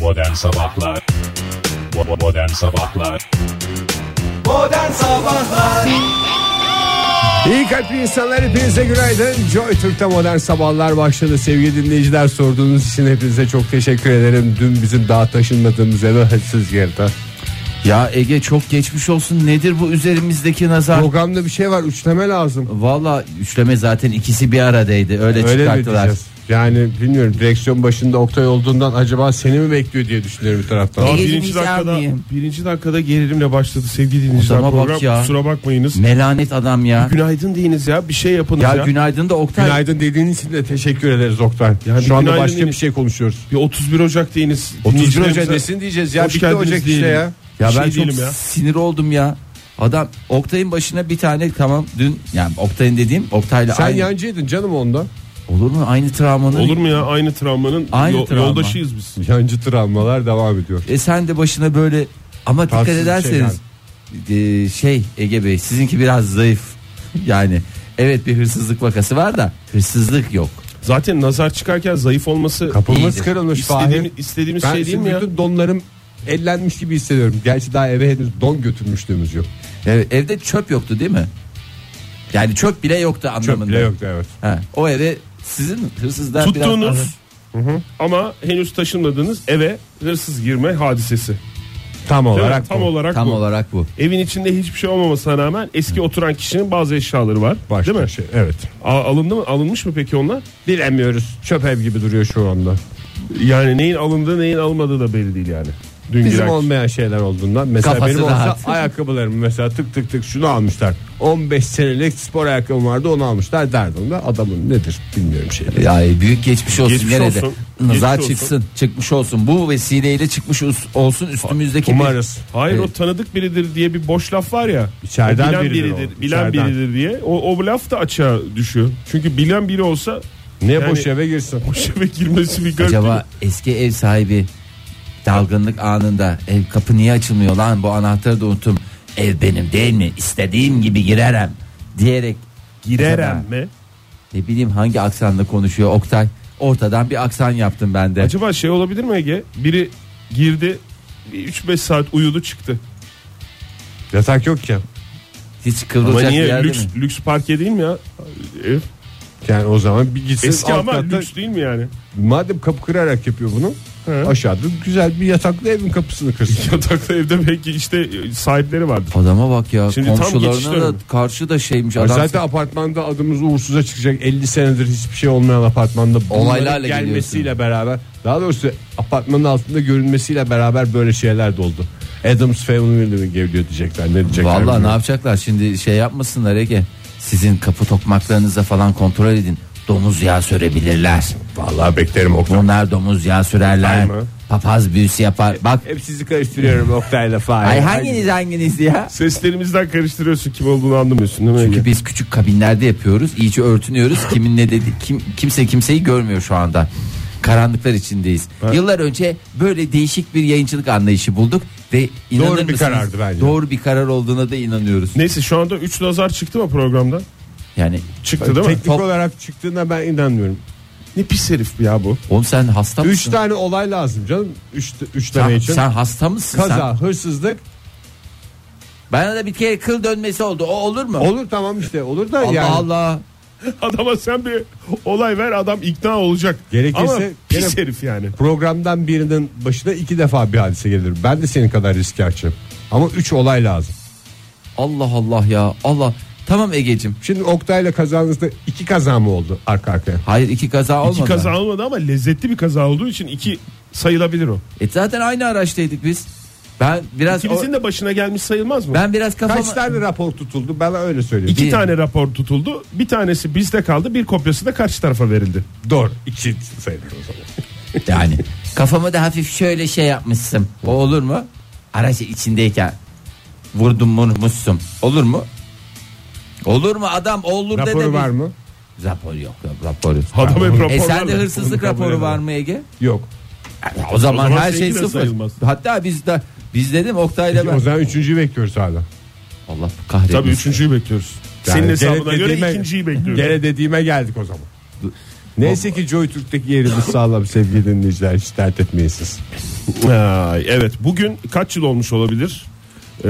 Modern Sabahlar Bo- Modern Sabahlar Modern Sabahlar İyi kalpli insanlar hepinize günaydın. Joy Türk'te modern sabahlar başladı. Sevgili dinleyiciler sorduğunuz için hepinize çok teşekkür ederim. Dün bizim daha taşınmadığımız eve siz geldi. Ya Ege çok geçmiş olsun nedir bu üzerimizdeki nazar? Programda bir şey var üçleme lazım. Valla üçleme zaten ikisi bir aradaydı öyle, Öyle mi çıkarttılar. diyeceğiz? Yani bilmiyorum direksiyon başında Oktay olduğundan acaba seni mi bekliyor diye düşünüyorum bir taraftan. Daha Egecim birinci hiç dakikada, almayayım. birinci dakikada gerilimle başladı sevgili dinleyiciler. Adama bak Program, ya. Kusura bakmayınız. Melanet adam ya. Günaydın deyiniz ya bir şey yapınız Ya ya. günaydın da Oktay. Günaydın dediğiniz için de teşekkür ederiz Oktay. Yani Şu anda günaydın başka değil. bir şey konuşuyoruz. bir 31 Ocak deyiniz. 31 Dinleyicilerimize Ocak nesin diyeceğiz ya. hoş Bitti geldiniz Ocak işte diyelim. ya. Ya bir ben şey çok değilim ya. sinir oldum ya. Adam Oktay'ın başına bir tane tamam dün yani Oktay'ın dediğim Oktay'la Sen aynı. yancıydın canım onda. Olur mu aynı travmanın? Olur mu ya aynı travmanın Aynı yo- travma. yoldaşıyız biz. Yancı travmalar devam ediyor. E sen de başına böyle ama dikkat Tatsız bir şey ederseniz e, şey Ege Bey sizinki biraz zayıf. Yani evet bir hırsızlık vakası var da hırsızlık yok. Zaten nazar çıkarken zayıf olması Kapımız İyidir. kırılmış Fahir. istediğimiz, istediğimiz Ben şey değil şimdi mi ya? bütün donlarım ellenmiş gibi hissediyorum. Gerçi daha eve henüz don götürmüşlüğümüz yok. Evet, evde çöp yoktu değil mi? Yani çöp bile yoktu anlamında. Çöp bile yoktu evet. Ha, o eve sizin hırsızlar Tuttuğunuz biraz... ama henüz taşınmadığınız eve hırsız girme hadisesi. Tam Değil mi? olarak Tam bu. olarak Tam bu. olarak bu. Evin içinde hiçbir şey olmamasına rağmen eski oturan kişinin bazı eşyaları var. Başka değil mi? Şey. Evet. A- alındı mı? Alınmış mı peki onlar? Bilemiyoruz. Çöp ev gibi duruyor şu anda. Yani neyin alındığı neyin alınmadığı da belli değil yani. Dün Bizim giren- olmayan şeyler olduğundan. Mesela Kafası benim olsa rahat. ayakkabılarım mesela tık tık tık şunu almışlar. 15 senelik spor ayakkabım vardı onu almışlar derdim de adamın nedir bilmiyorum şey. Yani e, büyük geçmiş olsun Geçmiş nerede? olsun. Nazar Geçmiş çıksın, çıkmış olsun. Bu vesileyle çıkmış us- olsun üstümüzdeki bir- Umarız. Hayır Evet. o tanıdık biridir diye bir boş laf var ya. İçeriden O bilen biridir o, bilen içeriden. biridir diye. O, o laf da açığa düşüyor. Çünkü bilen biri olsa Ne Yani- boş eve girsin. boş eve girmesi bir garip. değil mi? Acaba eski ev sahibi dalgınlık anında ev kapı niye açılmıyor lan bu anahtarı da unuttum. Ev benim değil mi? İstediğim gibi girerem diyerek Girerem mi? Ne bileyim hangi aksanla konuşuyor Oktay? Ortadan bir aksan yaptım ben de. Acaba şey olabilir mi Ege? Biri girdi 3-5 saat uyudu çıktı. Yatak yok ki. Hiç Ama kıvrılacak bir niye yerde lüks, mi? lüks parke değil mi ya? Ev. Yani o zaman bir gitsin Eski alt ama katta- lüks değil mi yani? Madem kapı kırarak yapıyor bunu He. aşağıda güzel bir yataklı evin kapısını kırsın. Yataklı evde belki işte e, sahipleri vardır. Adama bak ya Şimdi tam geçiş komşularına da dönemi. karşı da şeymiş adam. Zaten apartmanda adımız uğursuza çıkacak 50 senedir hiçbir şey olmayan apartmanda bunların Olaylarla gelmesiyle beraber daha doğrusu apartmanın altında görünmesiyle beraber böyle şeyler de oldu. Adams Family mi geliyor diyecekler ne diyecekler. Vallahi ne bilmiyorum. yapacaklar şimdi şey yapmasınlar Ege. Sizin kapı tokmaklarınıza falan kontrol edin. Domuz yağı sürebilirler. Vallahi beklerim Oktay. Bunlar domuz yağı sürerler. Oktay mı? Papaz büyüsü yapar. Bak Hep sizi karıştırıyorum Oktay'la Fahir. ay hanginiz hanginiz ya? Seslerimizden karıştırıyorsun kim olduğunu anlamıyorsun değil mi Ege? Çünkü biz küçük kabinlerde yapıyoruz. İyice örtünüyoruz. Kimin ne dedi? Kim kimse kimseyi görmüyor şu anda. Karanlıklar içindeyiz. Yıllar önce böyle değişik bir yayıncılık anlayışı bulduk ve inanır Doğru bir mısınız? karardı bence. Doğru bir karar olduğuna da inanıyoruz. Neyse şu anda 3 nazar çıktı mı programda? Yani Çıktı değil mi? Teknik olarak çıktığına ben inanmıyorum. Ne pis herif ya bu. oğlum sen hasta mısın? 3 tane olay lazım canım. 3 3 sen, tane için. sen hasta mısın sen? Kaza, hırsızlık, Bana da bir kere kıl dönmesi oldu. O olur mu? Olur tamam işte olur da Allah yani. Allah. Adama sen bir olay ver adam ikna olacak. Gerekirse Ama pis gene- herif yani. Programdan birinin başına iki defa bir hadise gelir. Ben de senin kadar riske açığım. Ama üç olay lazım. Allah Allah ya. Allah. Tamam Egeciğim. Şimdi Oktay'la kazanızda iki kaza mı oldu arka arkaya? Hayır iki kaza olmadı. İki kaza olmadı ama lezzetli bir kaza olduğu için iki sayılabilir o. E zaten aynı araçtaydık biz. Ben biraz İkinizin de başına gelmiş sayılmaz mı? ben biraz kafama Kaç tane rapor tutuldu? Bana öyle söyleyeyim. İki Bir- tane rapor tutuldu. Bir tanesi bizde kaldı. Bir kopyası da karşı tarafa verildi. Doğru. İki sayılır o zaman. Yani kafama da hafif şöyle şey yapmışsın. O olur mu? Araç içindeyken vurdum vurmuşsun. Olur mu? Olur mu adam olur da Raporu dedi. var mı? Rapor yok, yok rapor yok. Adam hep E sende raporlarla- hırsızlık Bunu kabul raporu edemem. var mı Ege? Yok. Ya o, zaman O zaman her şey seninki de sıfır. sayılmaz. Hatta biz de biz dedim Oktay'la ben. O zaman üçüncüyü bekliyoruz hala. Allah kahretsin. Tabii üçüncüyü bekliyoruz. Yani Senin gene hesabına göre dediğime- ikinciyi bekliyoruz. Gene dediğime geldik o zaman. Neyse ki Joy Türk'teki yerimiz sağlam sevgili dinleyiciler hiç dert etmeyin siz. Ay, evet bugün kaç yıl olmuş olabilir? Ee,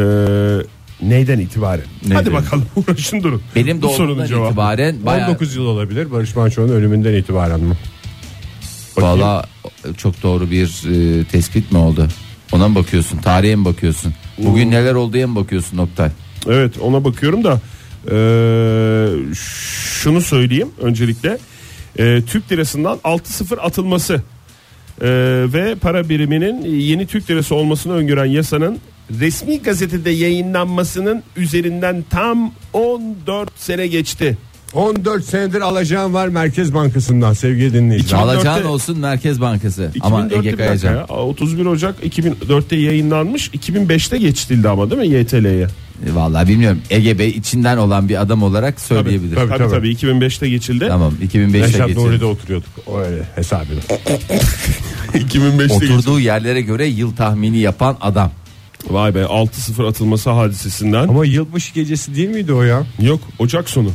neyden itibaren? Hadi Neyden? bakalım uğraşın durun. Benim Bu sorunun doğumumdan cevabı. itibaren bayağı 19 yıl olabilir Barış Manço'nun ölümünden itibaren mi? valla çok doğru bir e, tespit mi oldu? Ona mı bakıyorsun? Tarihe mi bakıyorsun? Bugün neler olduğuya mı bakıyorsun Oktay? Evet ona bakıyorum da eee, şunu söyleyeyim öncelikle Eee, Türk lirasından 6-0 atılması eee, ve para biriminin yeni Türk lirası olmasını öngören yasanın resmi gazetede yayınlanmasının üzerinden tam 14 sene geçti. 14 senedir alacağım var Merkez Bankası'ndan sevgili dinleyiciler. 2004'te Alacağın olsun Merkez Bankası. Ama 2004'te Ege bir dakika Kayacan. ya. 31 Ocak 2004'te yayınlanmış 2005'te geçtildi ama değil mi YTL'ye? E, Vallahi bilmiyorum. Ege Bey içinden olan bir adam olarak söyleyebilir. Tabii tabii, tabii. 2005'te geçildi. Tamam 2005'te Reşat geçelim. Nuri'de oturuyorduk o öyle hesabını. 2005'te geçildi. Oturduğu yerlere göre yıl tahmini yapan adam. Vay be 6-0 atılması hadisesinden. Ama yılbaşı gecesi değil miydi o ya? Yok Ocak sonu.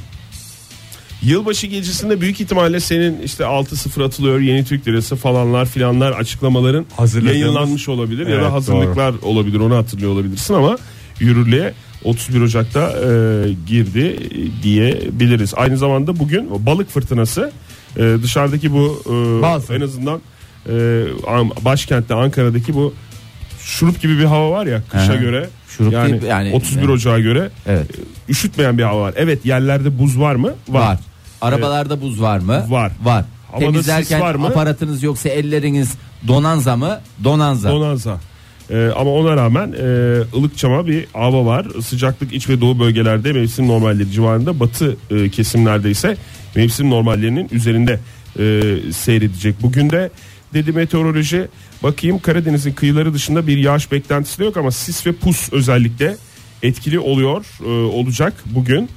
Yılbaşı gecesinde büyük ihtimalle senin işte 6-0 atılıyor yeni Türk lirası falanlar filanlar açıklamaların Hazırladığımız- yayınlanmış olabilir ya Evet, da hazırlıklar olabilir onu hatırlıyor olabilirsin ama yürürlüğe 31 Ocak'ta e, girdi diyebiliriz. Aynı zamanda bugün balık fırtınası e, dışarıdaki bu e, Bazı. en azından e, An- başkentte Ankara'daki bu şurup gibi bir hava var ya kışa Aha. göre. Şurup yani, değil, yani- 31 Ocak'a göre Evet. e, üşütmeyen bir hava var. Evet yerlerde buz var mı? Var. Arabalarda buz var mı? Var. Var. Havada Temizlerken sis var mı? aparatınız yoksa elleriniz donanza mı? Donanza. Bonanza. Ee, ama ona rağmen e, ılıkçama bir hava var. Sıcaklık iç ve doğu bölgelerde mevsim normalleri civarında. Batı e, kesimlerde ise mevsim normallerinin üzerinde e, seyredecek. Bugün de dedi meteoroloji bakayım Karadeniz'in kıyıları dışında bir yağış beklentisi de yok ama sis ve pus özellikle etkili oluyor e, olacak bugün.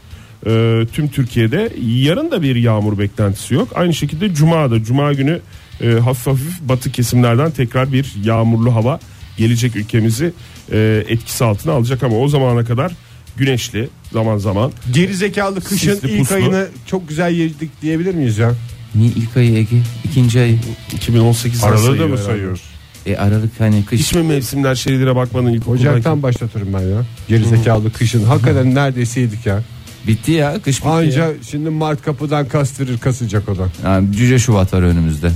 Ee, tüm Türkiye'de yarın da bir yağmur beklentisi yok. Aynı şekilde Cuma da Cuma günü e, hafif hafif batı kesimlerden tekrar bir yağmurlu hava gelecek ülkemizi e, etkisi altına alacak ama o zamana kadar güneşli zaman zaman Gerizekalı kışın Sisli, ilk puslu. ayını çok güzel yedik diyebilir miyiz ya? Niye ilk ayı Ege? İkinci ayı. 2018 Aralığı da mı sayıyoruz? E Aralık hani kış. Hiç mi mevsimler şeylere bakmadın ilk Ocaktan başlatırım ben ya. Gerizekalı kışın. Hakikaten neredeyse yedik ya. Bitti ya kış bitti. ya. Anca şimdi Mart kapıdan kastırır kasacak o da. Yani cüce Şubat var önümüzde.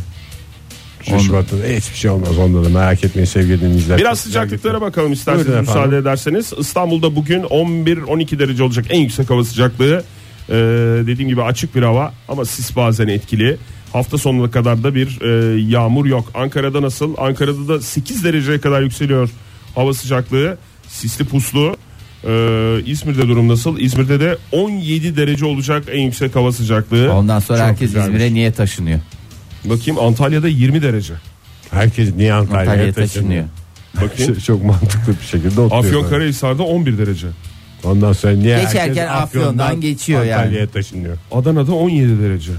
Şu Şubat'ta da hiçbir şey olmaz onda da merak etmeyin sevgili dinleyiciler. Biraz Çok güzel sıcaklıklara gitti. bakalım isterseniz Buyurun efendim. müsaade ederseniz. İstanbul'da bugün 11-12 derece olacak en yüksek hava sıcaklığı. Ee, dediğim gibi açık bir hava ama sis bazen etkili. Hafta sonuna kadar da bir e, yağmur yok. Ankara'da nasıl? Ankara'da da 8 dereceye kadar yükseliyor hava sıcaklığı. Sisli puslu. Ee, İzmir'de durum nasıl? İzmir'de de 17 derece olacak en yüksek hava sıcaklığı. Ondan sonra Çok herkes güzelmiş. İzmir'e niye taşınıyor? Bakayım Antalya'da 20 derece. Herkes niye Antalya'ya, Antalya'ya taşınıyor? taşınıyor. Bakayım. Çok mantıklı bir şekilde oturuyor. Afyonkarahisar'da 11 derece. Ondan sonra niye Geçerken herkes Afyon'dan geçiyor yani. Antalya'ya taşınıyor. Adana'da 17 derece.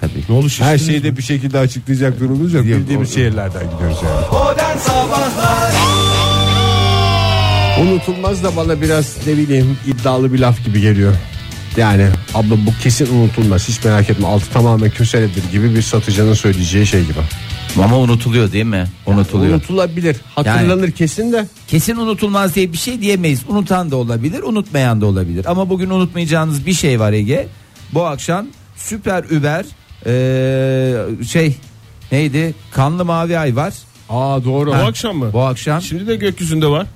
Tabii. Ne olur Her şey şeyi de bir şekilde açıklayacak durumumuz yok. Bildiğimiz şehirlerden gidiyoruz yani. Modern Sabahlar Unutulmaz da bana biraz ne bileyim iddialı bir laf gibi geliyor. Yani abla bu kesin unutulmaz hiç merak etme altı tamamen köseledir gibi bir satıcının söyleyeceği şey gibi. Ama unutuluyor değil mi? Unutuluyor. Unutulabilir hatırlanır kesin de Kesin unutulmaz diye bir şey diyemeyiz. Unutan da olabilir, unutmayan da olabilir. Ama bugün unutmayacağınız bir şey var Ege. Bu akşam süper über eee, şey neydi? Kanlı mavi ay var. Aa doğru. Bu akşam mı? Bu akşam. Şimdi de gökyüzünde var.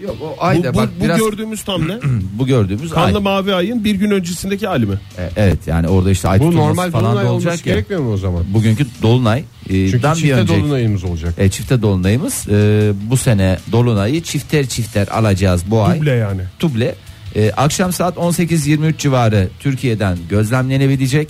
Yok, o Bu, ay da bu- bak bu biraz gördüğümüz tam ne? bu gördüğümüz Kanlı ay. mavi ayın bir gün öncesindeki hali mi? E, evet yani orada işte ay Bu tutulması normal falan dolunay da olması olacak ya. gerekmiyor mu o zaman? Bugünkü dolunay e, Çünkü dan bir çifte önceki. dolunayımız olacak. E, çifte dolunayımız e, bu sene dolunayı çifter çifter alacağız bu ay. Duble yani. Tuble e, akşam saat 18.23 civarı Türkiye'den gözlemlenebilecek.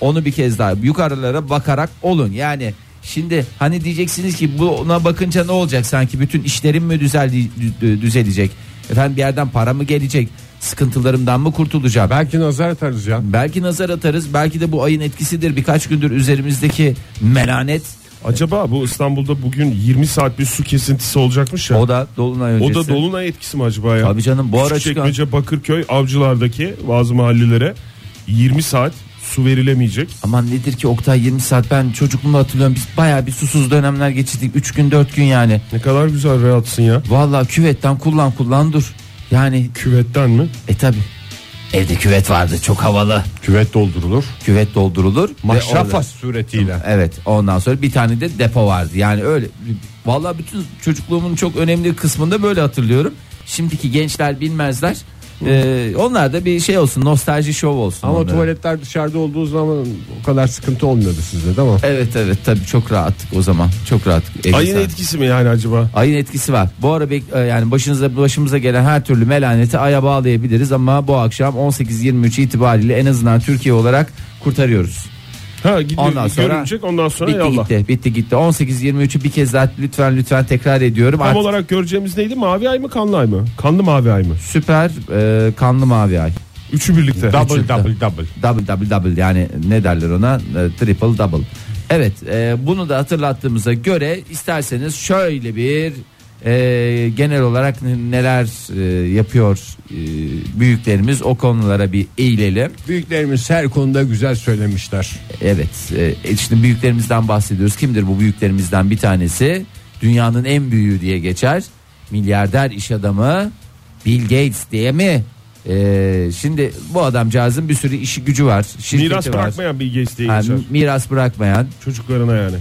Onu bir kez daha yukarılara bakarak olun. Yani şimdi hani diyeceksiniz ki buna bakınca ne olacak sanki bütün işlerim mi düzeldi, dü- düzelecek? Efendim bir yerden para mı gelecek? Sıkıntılarımdan mı kurtulacağım? Belki nazar atarız ya. Belki nazar atarız. Belki de bu ayın etkisidir. Birkaç gündür üzerimizdeki melanet Acaba bu İstanbul'da bugün 20 saat bir su kesintisi olacakmış ya. O o da, da dolunay öncesi. dolunay etkisi mi acaba ya? Tabii canım, bu ara Küçükçekmece, Bakırköy, Avcılar'daki bazı mahallelere 20 saat su verilemeyecek. Aman nedir ki Oktay 20 saat ben çocukluğumu hatırlıyorum biz bayağı bir susuz dönemler geçirdik 3 gün 4 gün yani. Ne kadar güzel rahatsın ya. Vallahi küvetten kullan kullan dur. Yani Küvetten mi? e tabi evde küvet vardı çok havalı Küvet doldurulur. küvet doldurulur. ve orada- Maşrafa suretiyle. Evet ondan sonra bir tane de depo vardı yani öyle. Vallahi bütün çocukluğumun çok önemli kısmında böyle hatırlıyorum. Şimdiki gençler bilmezler. Ee, onlar da bir şey olsun nostalji şov olsun. Ama onlara. tuvaletler dışarıda olduğu zaman o kadar sıkıntı olmuyordu sizde değil mi? Evet evet tabii çok rahattık o zaman. Çok rahattık. Elli Ayın saat. etkisi mi yani acaba? Ayın etkisi var. Bu ara bek- e, yani başınıza başımıza gelen her türlü melaneti aya bağlayabiliriz ama bu akşam 18-23 itibariyle en azından Türkiye olarak kurtarıyoruz. Ha gidiyor, Ondan sonra- görünecek ondan sonra bitti yallah. gitti. Bitti gitti. 18-23'ü bir kez daha lütfen lütfen tekrar ediyorum. Tam Artık olarak göreceğimiz neydi? Mavi ay mı kanlı ay mı? Kanlı mavi ay mı? süper e, kanlı mavi ay. Üçü birlikte. Double Üçü- double double. double double double yani ne derler ona E, triple double. Evet e, bunu da hatırlattığımıza göre isterseniz şöyle bir e, genel olarak n- neler e, yapıyor e, büyüklerimiz o konulara bir eğilelim. Büyüklerimiz her konuda güzel söylemişler. Evet e, şimdi büyüklerimizden bahsediyoruz. Kimdir bu büyüklerimizden bir tanesi? Dünyanın en büyüğü diye geçer. Milyarder iş adamı Bill Gates diye mi? E, şimdi bu adamcağızın bir sürü işi gücü var. Şirketi Miras var. bırakmayan bir geç diye Ha, geçer. miras bırakmayan Çocuklarına yani.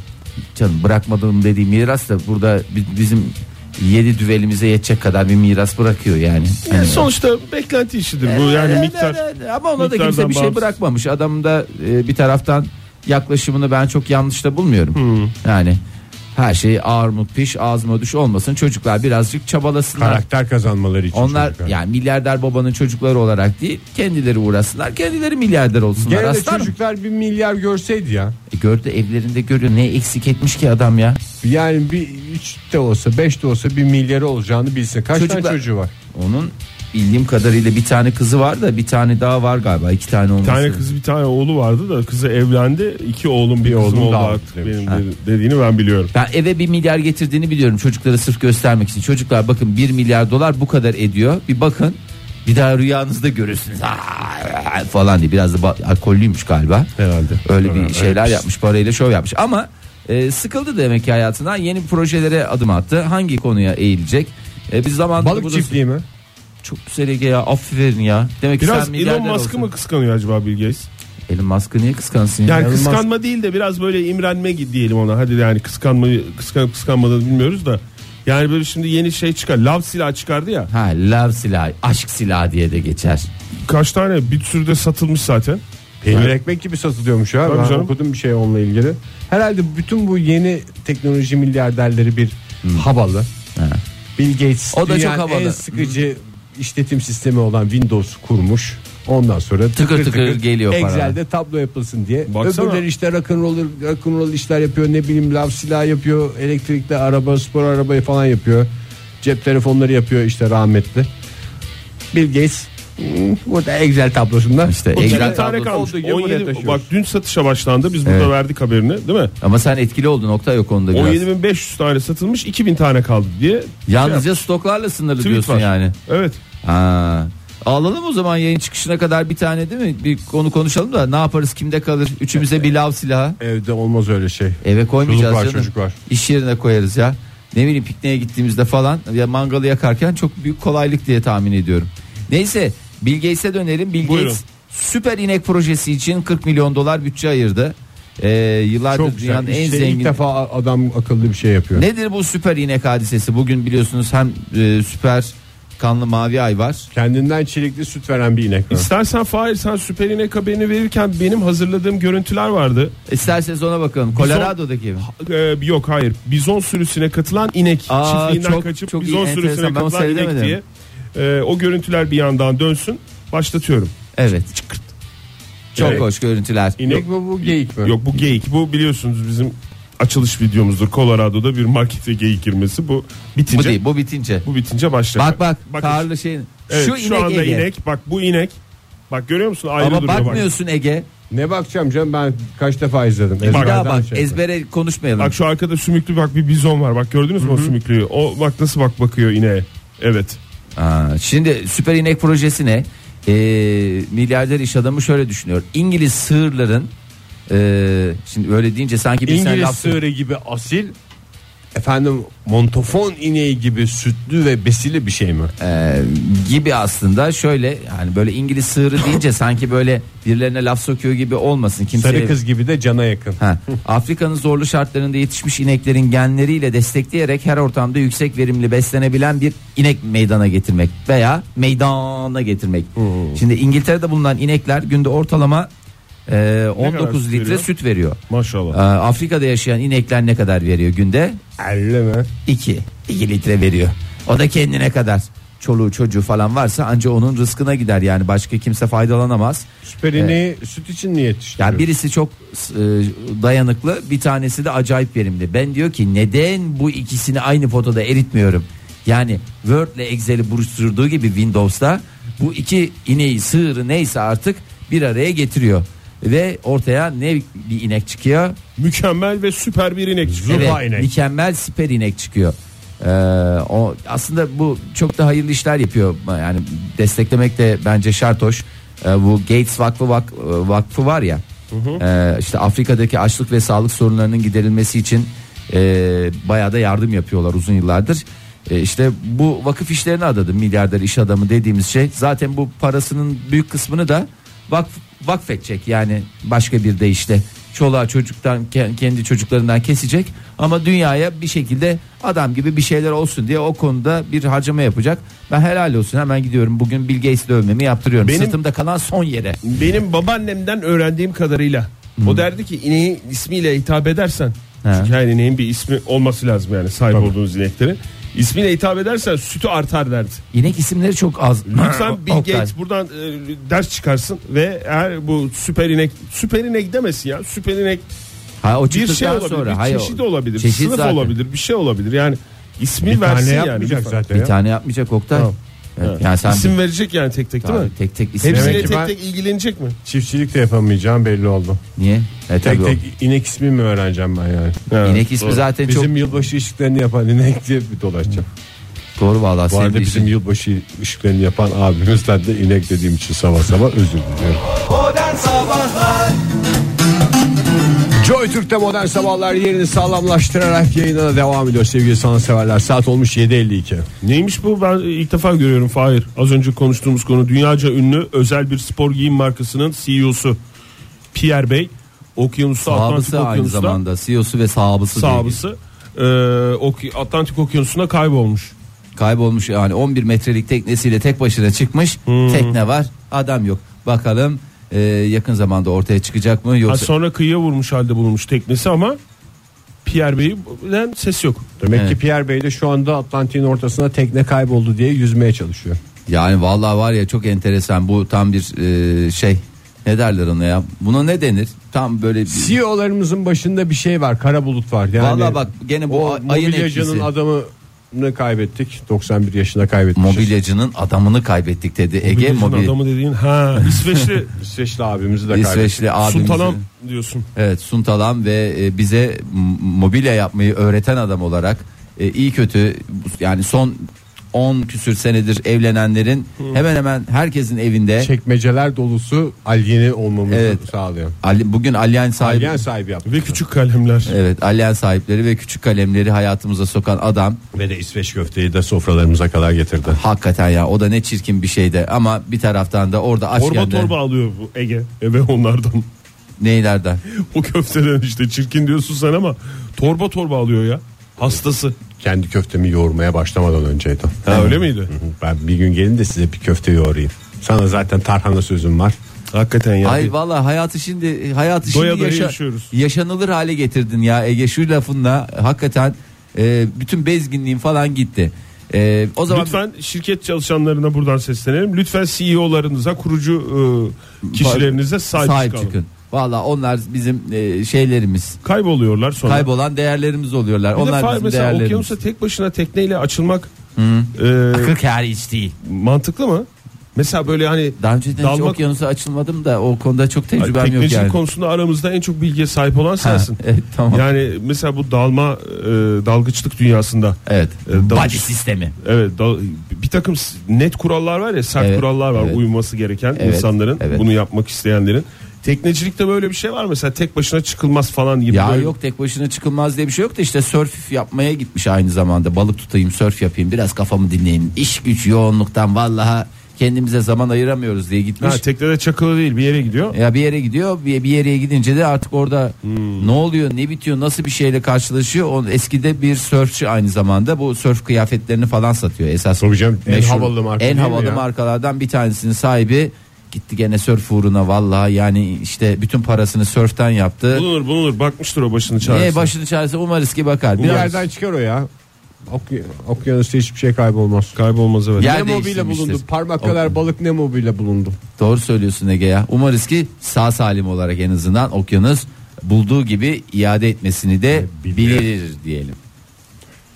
canım bırakmadığım dediğim miras da burada bi- bizim yedi düvelimize yetecek kadar bir miras bırakıyor yani. Yani Hani- sonuçta beklenti işidir bu yani Evet, miktar. evet, evet. ama ona da miktardan kimse bir şey bağımsız. bırakmamış. Adam da e, bir taraftan yaklaşımını ben çok yanlış da bulmuyorum. Hmm. Yani her şey ağır mı piş ağzıma düş olmasın çocuklar birazcık çabalasınlar. Karakter kazanmaları için. Onlar çocuklar. yani milyarder babanın çocukları olarak değil kendileri uğraşsınlar kendileri milyarder olsunlar. Gene de Aslanım. çocuklar bir milyar görseydi ya. E, gördü evlerinde görüyor ne eksik etmiş ki adam ya. Yani bir 3 de olsa 5 de olsa bir milyarı olacağını bilsin. Kaç Çocuklar- tane çocuğu var? Onun bildiğim kadarıyla bir tane kızı var da bir tane daha var galiba. iki tane olması. Bir tane kız bir tane oğlu vardı da kızı evlendi. iki oğlum bir oğlum oğlum oldu daha artık demiş. benim dedi- dediğini ben biliyorum. Ben eve bir milyar getirdiğini biliyorum çocuklara sırf göstermek için. Çocuklar bakın 1 milyar dolar bu kadar ediyor. Bir bakın bir daha rüyanızda görürsünüz Aa, falan diye biraz da ba- alkollüymüş galiba. Herhalde. Öyle bir şeyler yapmış parayla şov yapmış ama e, sıkıldı demek ki hayatından yeni projelere adım attı. Hangi konuya eğilecek? E, biz zamanında Balık burada- çiftliği mi? Çok güzel Ege ya aferin ya. Demek ki Biraz sen Elon milyarder Musk'ı olsun. mı kıskanıyor acaba Bill Gates? Elon Musk'ı niye kıskansın? ya? Yani Elon Musk- kıskanma değil de biraz böyle imrenme gibi diyelim ona. Hadi yani kıskanmayı kıskanıp kıskanmadığını bilmiyoruz da. Yani böyle şimdi yeni şey çıkar. Lav silahı çıkardı ya. Ha love silahı, aşk silahı diye de geçer. Kaç tane bir sürü de satılmış zaten. Peynir ekmek gibi satılıyormuş ya. Tabii ben canım. okudum bir şey onunla ilgili. Herhalde bütün bu yeni teknoloji milyarderleri bir havalı. Bill Gates Hmm. O da çok dünyanın havalı. Hmm. en sıkıcı işletim sistemi olan Windows kurmuş. Ondan sonra tıkır Tıkır tıkır, tıkır geliyor Excel'de paralar. tablo yapılsın diye. Baksana. Öbürleri işte rock'n'roll rock'n'roll işler yapıyor. Ne bileyim lav silah yapıyor. Elektrikli araba, spor arabayı falan yapıyor. Cep telefonları yapıyor işte rahmetli. Bill Gates hmm, burada Excel tablosunda. İşte Bu Excel tane tane kalmış. olduğu gibi buraya 17, taşıyoruz. bak dün satışa başlandı. Biz burada Evet. verdik haberini değil mi? Ama sen etkili oldun nokta yok onda biraz. 17.500 tane satılmış 2000 tane kaldı diye. Şey Yalnızca stoklarla sınırlı Tweet diyorsun var. yani. Evet. Ha. Alalım o zaman yayın çıkışına kadar bir tane değil mi? Bir konu konuşalım da ne yaparız kimde kalır? Üçümüze bir lav silahı. Evde olmaz öyle şey. Eve koymayacağız Çocuk var, canım. çocuk var. İş yerine koyarız ya. Ne bileyim pikniğe gittiğimizde falan ya mangalı yakarken çok büyük kolaylık diye tahmin ediyorum. Neyse Bill Gates'e dönelim. Bill Buyurun. Gates süper inek projesi için 40 milyon dolar bütçe ayırdı. Ee, yıllardır Çok güzel. dünyanın en İşte zengin ilk defa adam akıllı bir şey yapıyor. Nedir bu süper inek hadisesi? Bugün biliyorsunuz hem e, süper kanlı mavi ay var. Kendinden çelikli süt veren bir inek. var. İstersen Fahir sen Süper İnek haberini verirken benim hazırladığım görüntüler vardı. İsterseniz ona bakalım. Colorado'daki mi? Ee, yok hayır. Bizon sürüsüne katılan inek. Aa, Çiftliğinden çok- kaçıp çok iyi, bizon enteresan. sürüsüne Ben onu katılan inek seyredemedim. diye. Ee, o görüntüler bir yandan dönsün. Başlatıyorum. Evet. Çok Evet. hoş görüntüler. İnek İnek mi bu geyik mi? Yok bu geyik. Bu biliyorsunuz bizim açılış videomuzdur. Colorado'da bir markete geyik girmesi. Bu bitince Bu bu, değil, bu bitince. bitince başlayacak. Bak bak, Bakın. karlı şeyin. Evet, şu, şu, inek anda Ege. inek. Bak bu inek. Bak görüyor musun? Ayrı Ama duruyor bak. bakmıyorsun Ege. Ne bakacağım canım ben kaç defa izledim. Bir Bir daha Ezberden bak. şey. ezbere konuşmayalım. Bak şu arkada sümüklü bak bir bizon var. Bak gördünüz mü o sümüklüyü? O bak nasıl bak bakıyor ineğe. Evet. Aa, şimdi süper inek projesi ne? e, milyarder iş adamı şöyle düşünüyor. İngiliz sığırların e, şimdi öyle deyince sanki bir sen İngiliz laf sığırı gibi asil efendim montofon ineği gibi sütlü ve besili bir şey mi? e, gibi aslında şöyle yani böyle İngiliz sığırı deyince sanki böyle birilerine laf sokuyor gibi olmasın kimseye. Sarı kız gibi de cana yakın. Ha, Afrika'nın zorlu şartlarında yetişmiş ineklerin genleriyle destekleyerek her ortamda yüksek verimli beslenebilen bir inek meydana getirmek veya meydana getirmek. Şimdi İngiltere'de bulunan inekler günde ortalama e, kadar 19 süt litre veriyor? süt veriyor. E, Maşallah. Afrika'da yaşayan inekler ne kadar veriyor günde? Elle mi? 2. 2 litre veriyor. O da kendine kadar. Çoluğu çocuğu falan varsa anca onun rızkına gider yani başka kimse faydalanamaz. Süper ineği süt için mi yetiştiriyor? Yani birisi çok e, dayanıklı bir tanesi de acayip verimli. Ben diyor ki neden bu ikisini aynı fotoda eritmiyorum? Yani Word ile Excel'i buruşturduğu gibi Windows'ta bu iki ineği sığırı neyse artık bir araya getiriyor. Ve ortaya ne bir inek çıkıyor Mükemmel ve süper bir inek çıkıyor. Evet, Zübba inek. mükemmel siper inek çıkıyor. Ee, o aslında bu çok da hayırlı işler yapıyor. Yani desteklemek de bence şart hoş. Ee, bu Gates Vakfı Vak- Vakfı var ya. Ee, işte Afrika'daki açlık ve sağlık sorunlarının giderilmesi için e, bayağı da yardım yapıyorlar uzun yıllardır. E, işte bu vakıf işlerine adadı milyarder iş adamı dediğimiz şey. Zaten bu parasının büyük kısmını da vakf, vakfedecek yani başka bir de işte çoluğa çocuktan ke- kendi çocuklarından kesecek ama dünyaya bir şekilde adam gibi bir şeyler olsun diye o konuda bir harcama yapacak. Ben helal olsun hemen gidiyorum bugün Bill Gates dövmemi yaptırıyorum. Benim- Sırtımda kalan son yere. Benim babaannemden öğrendiğim kadarıyla o derdi ki ineği ismiyle hitap edersen Hmm. He. çünkü her ineğin bir ismi olması lazım yani sahip olduğunuz ineklerin ismiyle hitap edersen sütü artar derdi. İnek isimleri çok az. Lütfen Bill Oktay. Gates buradan e, ders çıkarsın ve eğer bu süper inek süper inek demesin ya süper inek Ha, o bir çıktıktan şey olabilir sonra, bir hayır, çeşit olabilir çeşit sınıf zaten. olabilir bir şey olabilir yani ismi bir versin tane yani yapmayacak lütfen. zaten. Bir ya. tane yapmayacak Oktay. Tamam. Evet, Evet. Yani sen İsim verecek yani tek tek değil Tabii, mi? tek tek isim. Hepsiyle Demek ki tek ben- tek ilgilenecek mi? Çiftçilik de yapamayacağım belli oldu. Niye? E, Tek tabii o. tek inek ismi mi öğreneceğim ben yani? İnek ismi zaten Bizim çok yılbaşı ışıklarını yapan inek diye bir dolaşacağım. doğru vallahi Bu senin arada de bizim işin. yılbaşı ışıklarını yapan abimizden de inek dediğim için sabah sabah özür diliyorum. Modern Sabahlar Joy Türk'te modern sabahlar yerini sağlamlaştırarak yayına da devam ediyor sevgili sanatseverler. Saat olmuş 7.52. Neymiş bu ben ilk defa görüyorum Fahir. Az önce konuştuğumuz konu dünyaca ünlü özel bir spor giyim markasının CEO'su Pierre Bey. Okyanusta Atlantik Sahabısı aynı Okyanusu'na zamanda CEO'su ve sahabısı. diye. sahabısı e, ok- Atlantik Okyanusu'na kaybolmuş. Kaybolmuş yani 11 metrelik teknesiyle tek başına çıkmış. Hmm. Tekne var adam yok. Bakalım e, yakın zamanda ortaya çıkacak mı Ha, yoksa sonra kıyıya vurmuş halde bulunmuş teknesi ama Pierre Bey'den ses yok. Demek Evet. ki Pierre Bey de şu anda Atlantik'in ortasına tekne kayboldu diye yüzmeye çalışıyor. yani vallahi var ya çok enteresan bu tam bir e, şey ne derler ona ya buna ne denir tam böyle bir, E CEO'larımızın E başında bir şey var kara bulut var. Yani Vallahi bak gene bu o ay- ayın mobilyacının etkisi. adamını kaybettik 91 yaşında kaybetmişiz. mobilyacının adamını kaybettik dedi Ege Mobilyacının mobil adamı dediğin ha İsveçli İsveçli abimizi de kaybettik. İsveçli abimizi Suntalam diyorsun. Evet Suntalan ve e, bize m- mobilya yapmayı öğreten adam olarak e, iyi kötü yani son 10 küsür senedir evlenenlerin hemen hemen herkesin evinde Çekmeceler dolusu alyeni olmamızı E- Evet. sağlıyor. Ali- bugün Allianz sahibi Alyen sahibi yaptı. Ve küçük kalemler. Evet Allianz sahipleri ve küçük kalemleri hayatımıza sokan adam Ve de İsveç köfteyi de sofralarımıza kadar getirdi. hakikaten ya o da ne çirkin bir şeydi ama bir taraftan da orada Torba açken de torba alıyor bu Ege E, ve onlardan. neylerden O köfteden işte çirkin diyorsun sen ama torba torba alıyor ya. Hastası. Kendi köftemi yoğurmaya başlamadan önceydi. Ha, öyle miydi? Ben bir gün gelin de size bir köfte yoğurayım. Sana zaten tarhana sözüm var. Hakikaten ya. Hayır valla hayatı şimdi hayatı Doya şimdi doya yaşa- yaşıyoruz. yaşanılır hale getirdin ya Ege şu lafınla hakikaten e, bütün bezginliğin falan gitti. E, o zaman Lütfen şirket çalışanlarına buradan seslenelim. Lütfen CEO'larınıza, kurucu e, kişilerinize sahip, sahip çıkalım. çıkın. Valla onlar bizim e, şeylerimiz. Kayboluyorlar sonra. Kaybolan değerlerimiz oluyorlar. bir de onlar Fahir bizim mesela değerlerimiz. okyanusa tek başına tekneyle açılmak e, Akıl kârı hiç değil. mantıklı mı? Mesela böyle hani Daha önce hiç Dalmak- okyanusa açılmadım da o konuda çok tecrübem yok teknecilik yani. konusunda aramızda en çok bilgiye sahip olan Ha, sensin. evet tamam. Yani mesela bu dalma e, dalgıçlık dünyasında evet. e, dalış- Body sistemi. Evet dal- bir takım s- net kurallar var ya sert Evet, kurallar var evet. uyulması gereken Evet, insanların evet. bunu yapmak isteyenlerin. Teknecilikte böyle bir şey var mı? mesela tek başına çıkılmaz falan gibi. Ya böyle- yok tek başına çıkılmaz diye bir şey yok da işte sörf yapmaya gitmiş aynı zamanda. Balık tutayım, sörf yapayım, biraz kafamı dinleyeyim. İş güç yoğunluktan vallaha kendimize zaman ayıramıyoruz diye gitmiş. Ha, teknede çakılı değil bir yere gidiyor. ya bir yere gidiyor, bir, bir yere gidince de artık orada Hmm. ne oluyor, ne bitiyor, nasıl bir şeyle karşılaşıyor. O eskide bir sörfçü aynı zamanda bu sörf kıyafetlerini falan satıyor esas. Tabii canım, en meşhur- havalı marka En değil mi havalı ya? markalardan bir tanesinin sahibi gitti gene sörf uğruna vallahi yani işte bütün parasını sörften yaptı. Bulunur bulunur bakmıştır o başını çağırsın. E- Ne başını çaresi umarız ki bakar. Bir Biraz- yerden çıkar o ya. Oky- Okyanusta hiçbir şey kaybolmaz. Kaybolmaz evet. Ya- Yer Nemo bile değiştirmiştir. bulundu. Parmak kadar balık Nemo bile bulundu. Doğru söylüyorsun Ege ya. Umarız ki sağ salim olarak en azından okyanus bulduğu gibi iade etmesini de Bilir. bilir diyelim.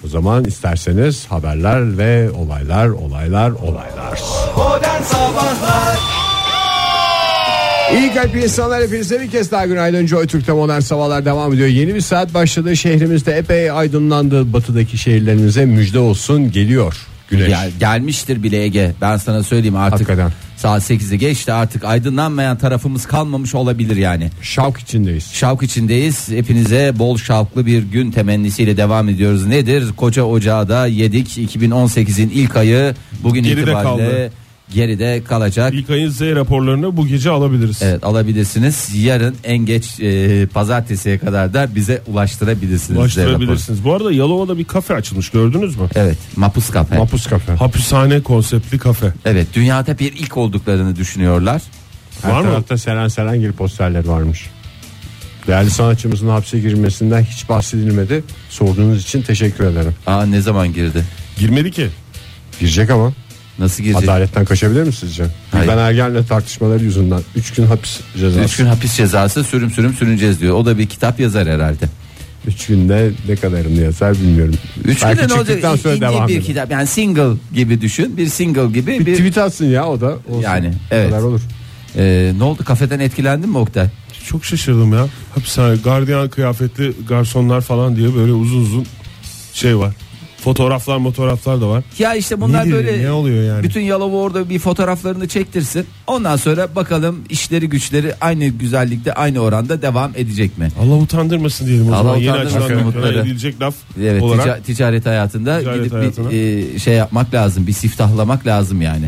O zaman isterseniz haberler ve olaylar olaylar olaylar. Modern Sabahlar İyi kalp insanlar hepinize bir kez daha günaydın Joy Türk'te modern sabahlar devam ediyor Yeni bir saat başladı şehrimizde epey aydınlandı Batıdaki şehirlerimize müjde olsun geliyor güneş Gel- gelmiştir bile Ege. Ben sana söyleyeyim artık. Hakikaten. Saat 8'i geçti artık aydınlanmayan tarafımız kalmamış olabilir yani. Şavk içindeyiz Şavk içindeyiz. Hepinize bol şavklı bir gün temennisiyle devam ediyoruz. Nedir? Koca ocağı da yedik. 2018'in ilk ayı bugün Geride itibariyle kaldı. geride kalacak. İlk ayın Z raporlarını bu gece alabiliriz. Evet alabilirsiniz. Yarın en geç e, pazartesiye kadar da bize ulaştırabilirsiniz. Ulaştırabilirsiniz. Bu arada Yalova'da bir kafe açılmış gördünüz mü? Evet Mapus Kafe. Mapus kafe Hapishane konseptli kafe. evet dünyada bir ilk olduklarını düşünüyorlar. Her Var mı? tarafta Seren Serengil posterleri varmış Değerli sanatçımızın hapse girmesinden hiç bahsedilmedi Sorduğunuz için teşekkür ederim Aa ne zaman girdi? Girmedi ki. Girecek ama Nasıl girecek? adaletten kaçabilir mi sizce? Hayır. Ben Ergen'le tartışmaları yüzünden 3 gün hapis cezası Üç gün hapis cezası sürüm sürüm sürüneceğiz diyor. O da bir kitap yazar herhalde. Üç günde ne kadarını yazar bilmiyorum. Üç Belki günde ne olacak? çıktıktan sonra İnce devam bir eder. kitap. Yani single gibi düşün. Bir single gibi bir... Bir tweet atsın ya o da. Olsun. Yani, O evet. kadar olur. Ee, ne oldu kafeden etkilendin mi Oktay? Çok şaşırdım ya. Hapishane gardiyan kıyafetli garsonlar falan diye böyle uzun uzun şey var. Fotoğraflar fotoğraflar da var. Ya işte bunlar Nedir, böyle ne oluyor yani? Bütün Yalova orada bir fotoğraflarını çektirsin. Ondan sonra bakalım işleri güçleri aynı güzellikte aynı oranda devam edecek mi? Allah utandırmasın diyelim o Allah zaman. Yeni utandırmasın açılan umutları. dükkanlara edilecek laf Evet olarak. E, tica- ticaret hayatında Ticaret gidip hayatına. bir e, şey yapmak lazım. Bir siftahlamak lazım yani.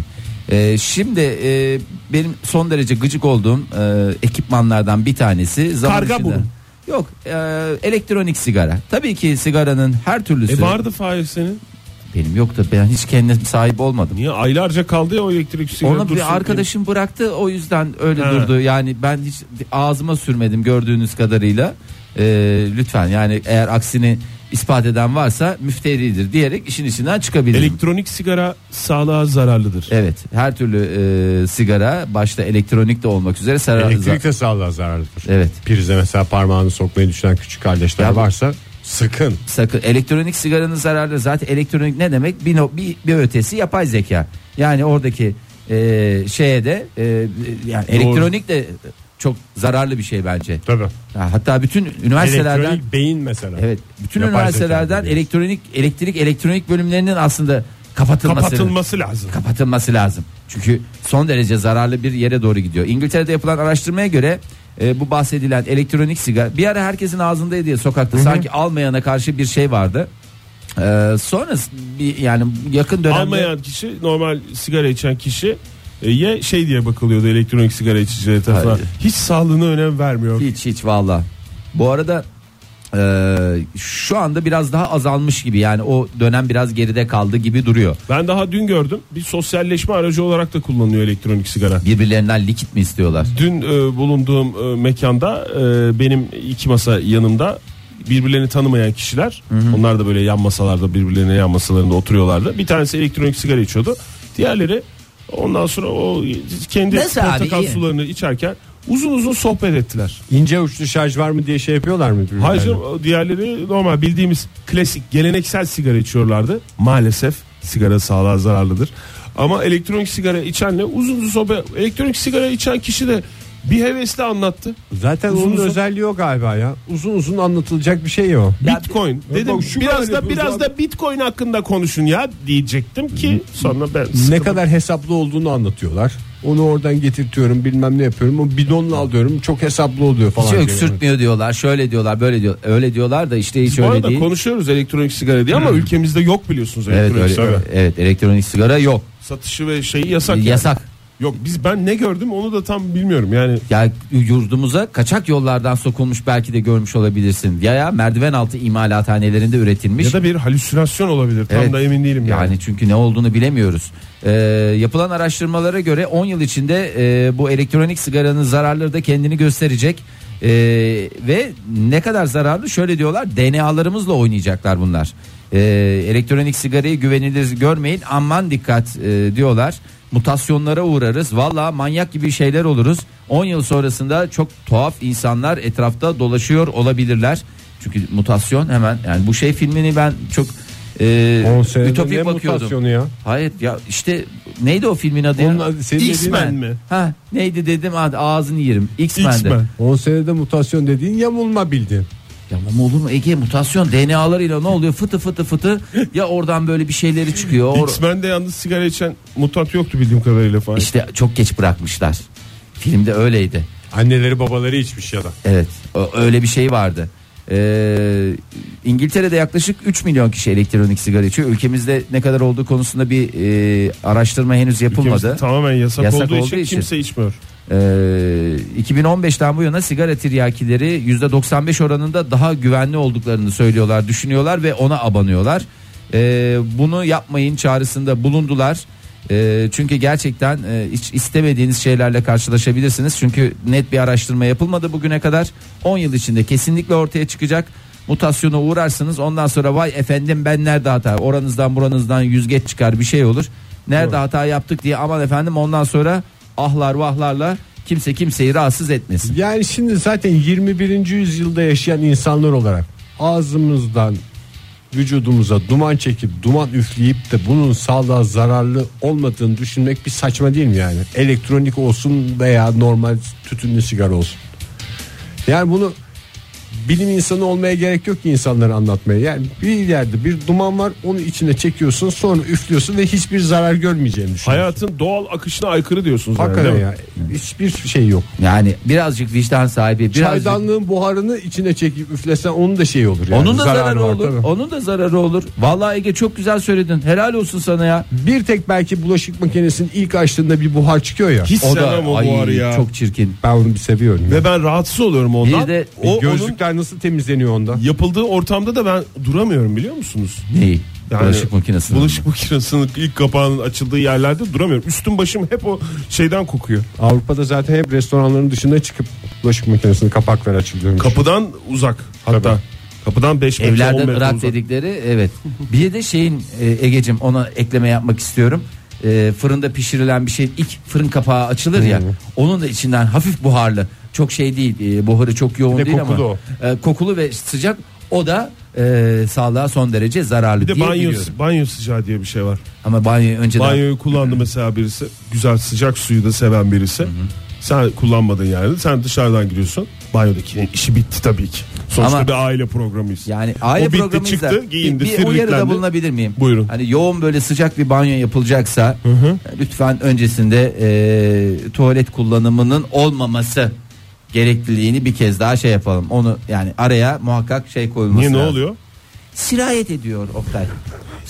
E, şimdi e, benim son derece gıcık olduğum e, ekipmanlardan bir tanesi zaman Karga içinde- burun. Yok e, elektronik sigara. Tabii ki sigaranın her E türlüsü. vardı Fahir senin. Benim yoktu. Ben hiç kendim sahip olmadım. Niye aylarca kaldı ya o elektrik sigara Onu dursun bir arkadaşım bıraktı o yüzden öyle He. durdu. Yani ben hiç ağzıma sürmedim gördüğünüz kadarıyla. Ee, lütfen yani eğer aksini ispat eden varsa müfteridir diyerek işin içinden diye. çıkabilirim. Elektronik sigara sağlığa zararlıdır. evet her türlü e, sigara başta elektronik de olmak üzere sarar- Elektrik de sağlığa zararlıdır. Evet. Prize mesela parmağını sokmayı düşünen küçük kardeşler Ya bu- varsa sıkın. sakın elektronik sigaranın zararları zaten elektronik ne demek bir, no- bir, bir ötesi yapay zeka yani oradaki e, şeye de e, yani elektronik de çok zararlı bir şey bence. Tabii. Ya hatta bütün üniversitelerden Elektronik beyin mesela. evet bütün Yapay üniversitelerden zeka dediğimiz. elektronik elektrik elektronik bölümlerinin aslında kapatılması Kapatılması lazım. kapatılması lazım. Çünkü son derece zararlı bir yere doğru gidiyor. İngiltere'de yapılan araştırmaya göre e, bu bahsedilen elektronik sigara bir ara herkesin ağzındaydı diye sokakta sanki almayana karşı bir şey vardı. E, sonra bir yani yakın dönemde Almayan kişi normal sigara içen kişi e, ye şey diye bakılıyordu elektronik sigara içicileri tarafından. Hayır. Hiç sağlığına önem vermiyor. Hiç hiç valla. Bu arada e, şu anda biraz daha azalmış gibi yani o dönem biraz geride kaldı gibi duruyor. Ben daha dün gördüm. Bir sosyalleşme aracı olarak da kullanılıyor elektronik sigara. Birbirlerinden likit mi istiyorlar? Dün e, bulunduğum e, mekanda e, benim iki masa yanımda birbirlerini tanımayan kişiler. Onlar da böyle yan masalarda birbirlerine yan masalarında oturuyorlardı. Bir tanesi elektronik sigara içiyordu. Diğerleri ondan sonra o kendi Nasıl abi, portakal iyi. sularını içerken uzun uzun sohbet ettiler. İnce uçlu şarj var mı diye şey yapıyorlar mı? birbirlerine? Hayır canım, o diğerleri normal bildiğimiz klasik geleneksel sigara içiyorlardı. Maalesef sigara sağlığa zararlıdır. Ama elektronik sigara içenle uzun uzun sohbet elektronik sigara içen kişi de Bir hevesle anlattı. Zaten Uzun onun uzun. özelliği o galiba ya. Uzun uzun anlatılacak bir şey o. Bitcoin. Ya Dedim bak şu biraz kadar da yapıyoruz biraz abi. da Bitcoin hakkında konuşun ya diyecektim ki sonra ben Ne sıkıldım. kadar hesaplı olduğunu anlatıyorlar. Onu oradan getirtiyorum bilmem ne yapıyorum. O bidonla alıyorum çok hesaplı oluyor falan. Hiç şey, diyor. öksürtmüyor diyorlar. Şöyle diyorlar, böyle diyor. Öyle diyorlar da işte hiç Bu öyle arada değil. Hmm. konuşuyoruz elektronik sigara diye ama ülkemizde yok biliyorsunuz Evet, elektronik öyle, sigara. evet, elektronik sigara yok. Satışı ve şeyi yasak. yani. Yasak. Yok biz ben ne gördüm onu da tam bilmiyorum yani. Ya yurdumuza kaçak yollardan sokulmuş belki de görmüş olabilirsin. Ya ya merdiven altı imalathanelerinde üretilmiş. Ya da bir halüsinasyon olabilir. Tam Evet. da emin değilim yani. Yani çünkü ne olduğunu bilemiyoruz. Ee, yapılan araştırmalara göre 10 yıl içinde e, bu elektronik sigaranın zararları da kendini gösterecek. Ee, ve ne kadar zararlı şöyle diyorlar DNA'larımızla oynayacaklar bunlar. Ee, elektronik sigarayı güvenilir görmeyin aman dikkat e, diyorlar. Mutasyonlara uğrarız valla manyak gibi şeyler oluruz. 10 yıl sonrasında çok tuhaf insanlar etrafta dolaşıyor olabilirler. Çünkü mutasyon hemen yani bu şey filmini ben çok e, On senede Ütopik ne bakıyordum. mutasyonu ya? Hayır ya işte neydi o filmin adı Onun ya? adı- senin dediğin- X-Men mi? Ha neydi dedim hadi ağzını yerim. X-Men'di. X-Men. 10 senede mutasyon dediğin yamulma bildiğin. Ya ama olur mu Ege mutasyon DNA'larıyla ne oluyor? Fıtı fıtı fıtı ya oradan böyle bir şeyleri çıkıyor. Or- X-Men'de yalnız sigara içen mutant yoktu bildiğim kadarıyla falan. işte çok geç bırakmışlar. Filmde öyleydi. Anneleri babaları şey içmiş ya da. Evet ö- öyle bir şey vardı. Ee, İngiltere'de yaklaşık 3 milyon kişi elektronik sigara içiyor. Ülkemizde ne kadar olduğu konusunda bir e, araştırma henüz yapılmadı. Ülkemizde tamamen yasak, Yasak olduğu, olduğu için, için. kimse içmiyor. Ee, 2015'ten bu yana sigara tiryakileri %95 oranında daha güvenli olduklarını söylüyorlar, düşünüyorlar ve ona abanıyorlar. Ee, bunu yapmayın çağrısında bulundular. Ee, çünkü gerçekten e, hiç istemediğiniz şeylerle karşılaşabilirsiniz. Çünkü net bir araştırma yapılmadı bugüne kadar. 10 yıl içinde kesinlikle ortaya çıkacak. Mutasyona uğrarsınız. Ondan sonra vay efendim ben nerede hata? Oranızdan buranızdan yüzgeç çıkar bir şey olur. Nerede hata yaptık diye aman efendim ondan sonra ahlar vahlarla kimse kimseyi rahatsız etmesin. Yani şimdi zaten 21. yüzyılda yaşayan insanlar olarak ağzımızdan vücudumuza duman çekip duman üfleyip de bunun sağlığa zararlı olmadığını düşünmek bir saçma değil mi yani? Elektronik olsun veya normal tütünlü sigara olsun. Yani bunu bilim insanı olmaya gerek yok ki insanlara anlatmaya. Yani bir yerde bir duman var onu içine çekiyorsun sonra üflüyorsun ve hiçbir zarar görmeyeceğini düşünüyorsun. Hayatın doğal akışına aykırı diyorsunuz. yani, Hakikaten değil mi? ya hiçbir şey yok. Yani birazcık vicdan sahibi, birazcık Çaydanlığın buharını içine çekip üflesen onun da şeyi olur yani. onun da zararı, var olur. tabii. Onun da zararı olur. Vallahi Ege çok güzel söyledin. Helal olsun sana ya. Bir tek belki bulaşık makinesinin ilk açtığında bir buhar çıkıyor ya. Hiç O da sevmem o ay, buharı ya. çok çirkin. Ben onu bir seviyorum. ya. E, Ve ben rahatsız oluyorum ondan. Bir de o onun Gözlükler nasıl temizleniyor onda? yapıldığı ortamda da ben duramıyorum biliyor musunuz? Neyi? Yani bulaşık makinesi. Bulaşık makinesinin ilk kapağının açıldığı yerlerde duramıyorum. Üstüm başım hep o şeyden kokuyor. Avrupa'da zaten hep restoranların dışına çıkıp bulaşık makinesinin kapakları açılıyor. Kapıdan uzak hatta. Tabii. Kapıdan 5 metre 10 Evlerden metre ırak uzak. dedikleri evet. Bir de şeyin e, Ege'cim ona ekleme yapmak istiyorum. E, fırında pişirilen bir şey ilk fırın kapağı açılır ya. Onun da içinden hafif buharlı. Çok şey değil. e, buharı çok yoğun Bir de değil ama. kokulu e, kokulu ve sıcak. O da e, sağlığa son derece zararlı Bir de diye banyo, biliyorum. banyo sıcağı diye bir şey var. Ama banyoyu önceden Banyoyu kullandı mesela birisi. Güzel sıcak suyu da seven birisi. Sen kullanmadın yani. Sen dışarıdan giriyorsun. Banyodaki işi bitti tabii ki. Sonuçta Ama- bir aile programıyız. yani aile o bitti programı çıktı izler. giyindi bir, bir uyarıda sirliklendi. bulunabilir miyim? Buyurun. Hani yoğun böyle sıcak bir banyo yapılacaksa lütfen öncesinde e, tuvalet kullanımının olmaması gerekliliğini bir kez daha şey yapalım. Onu yani araya muhakkak şey koyulması Niye ne lazım. oluyor? Sirayet ediyor Oktay.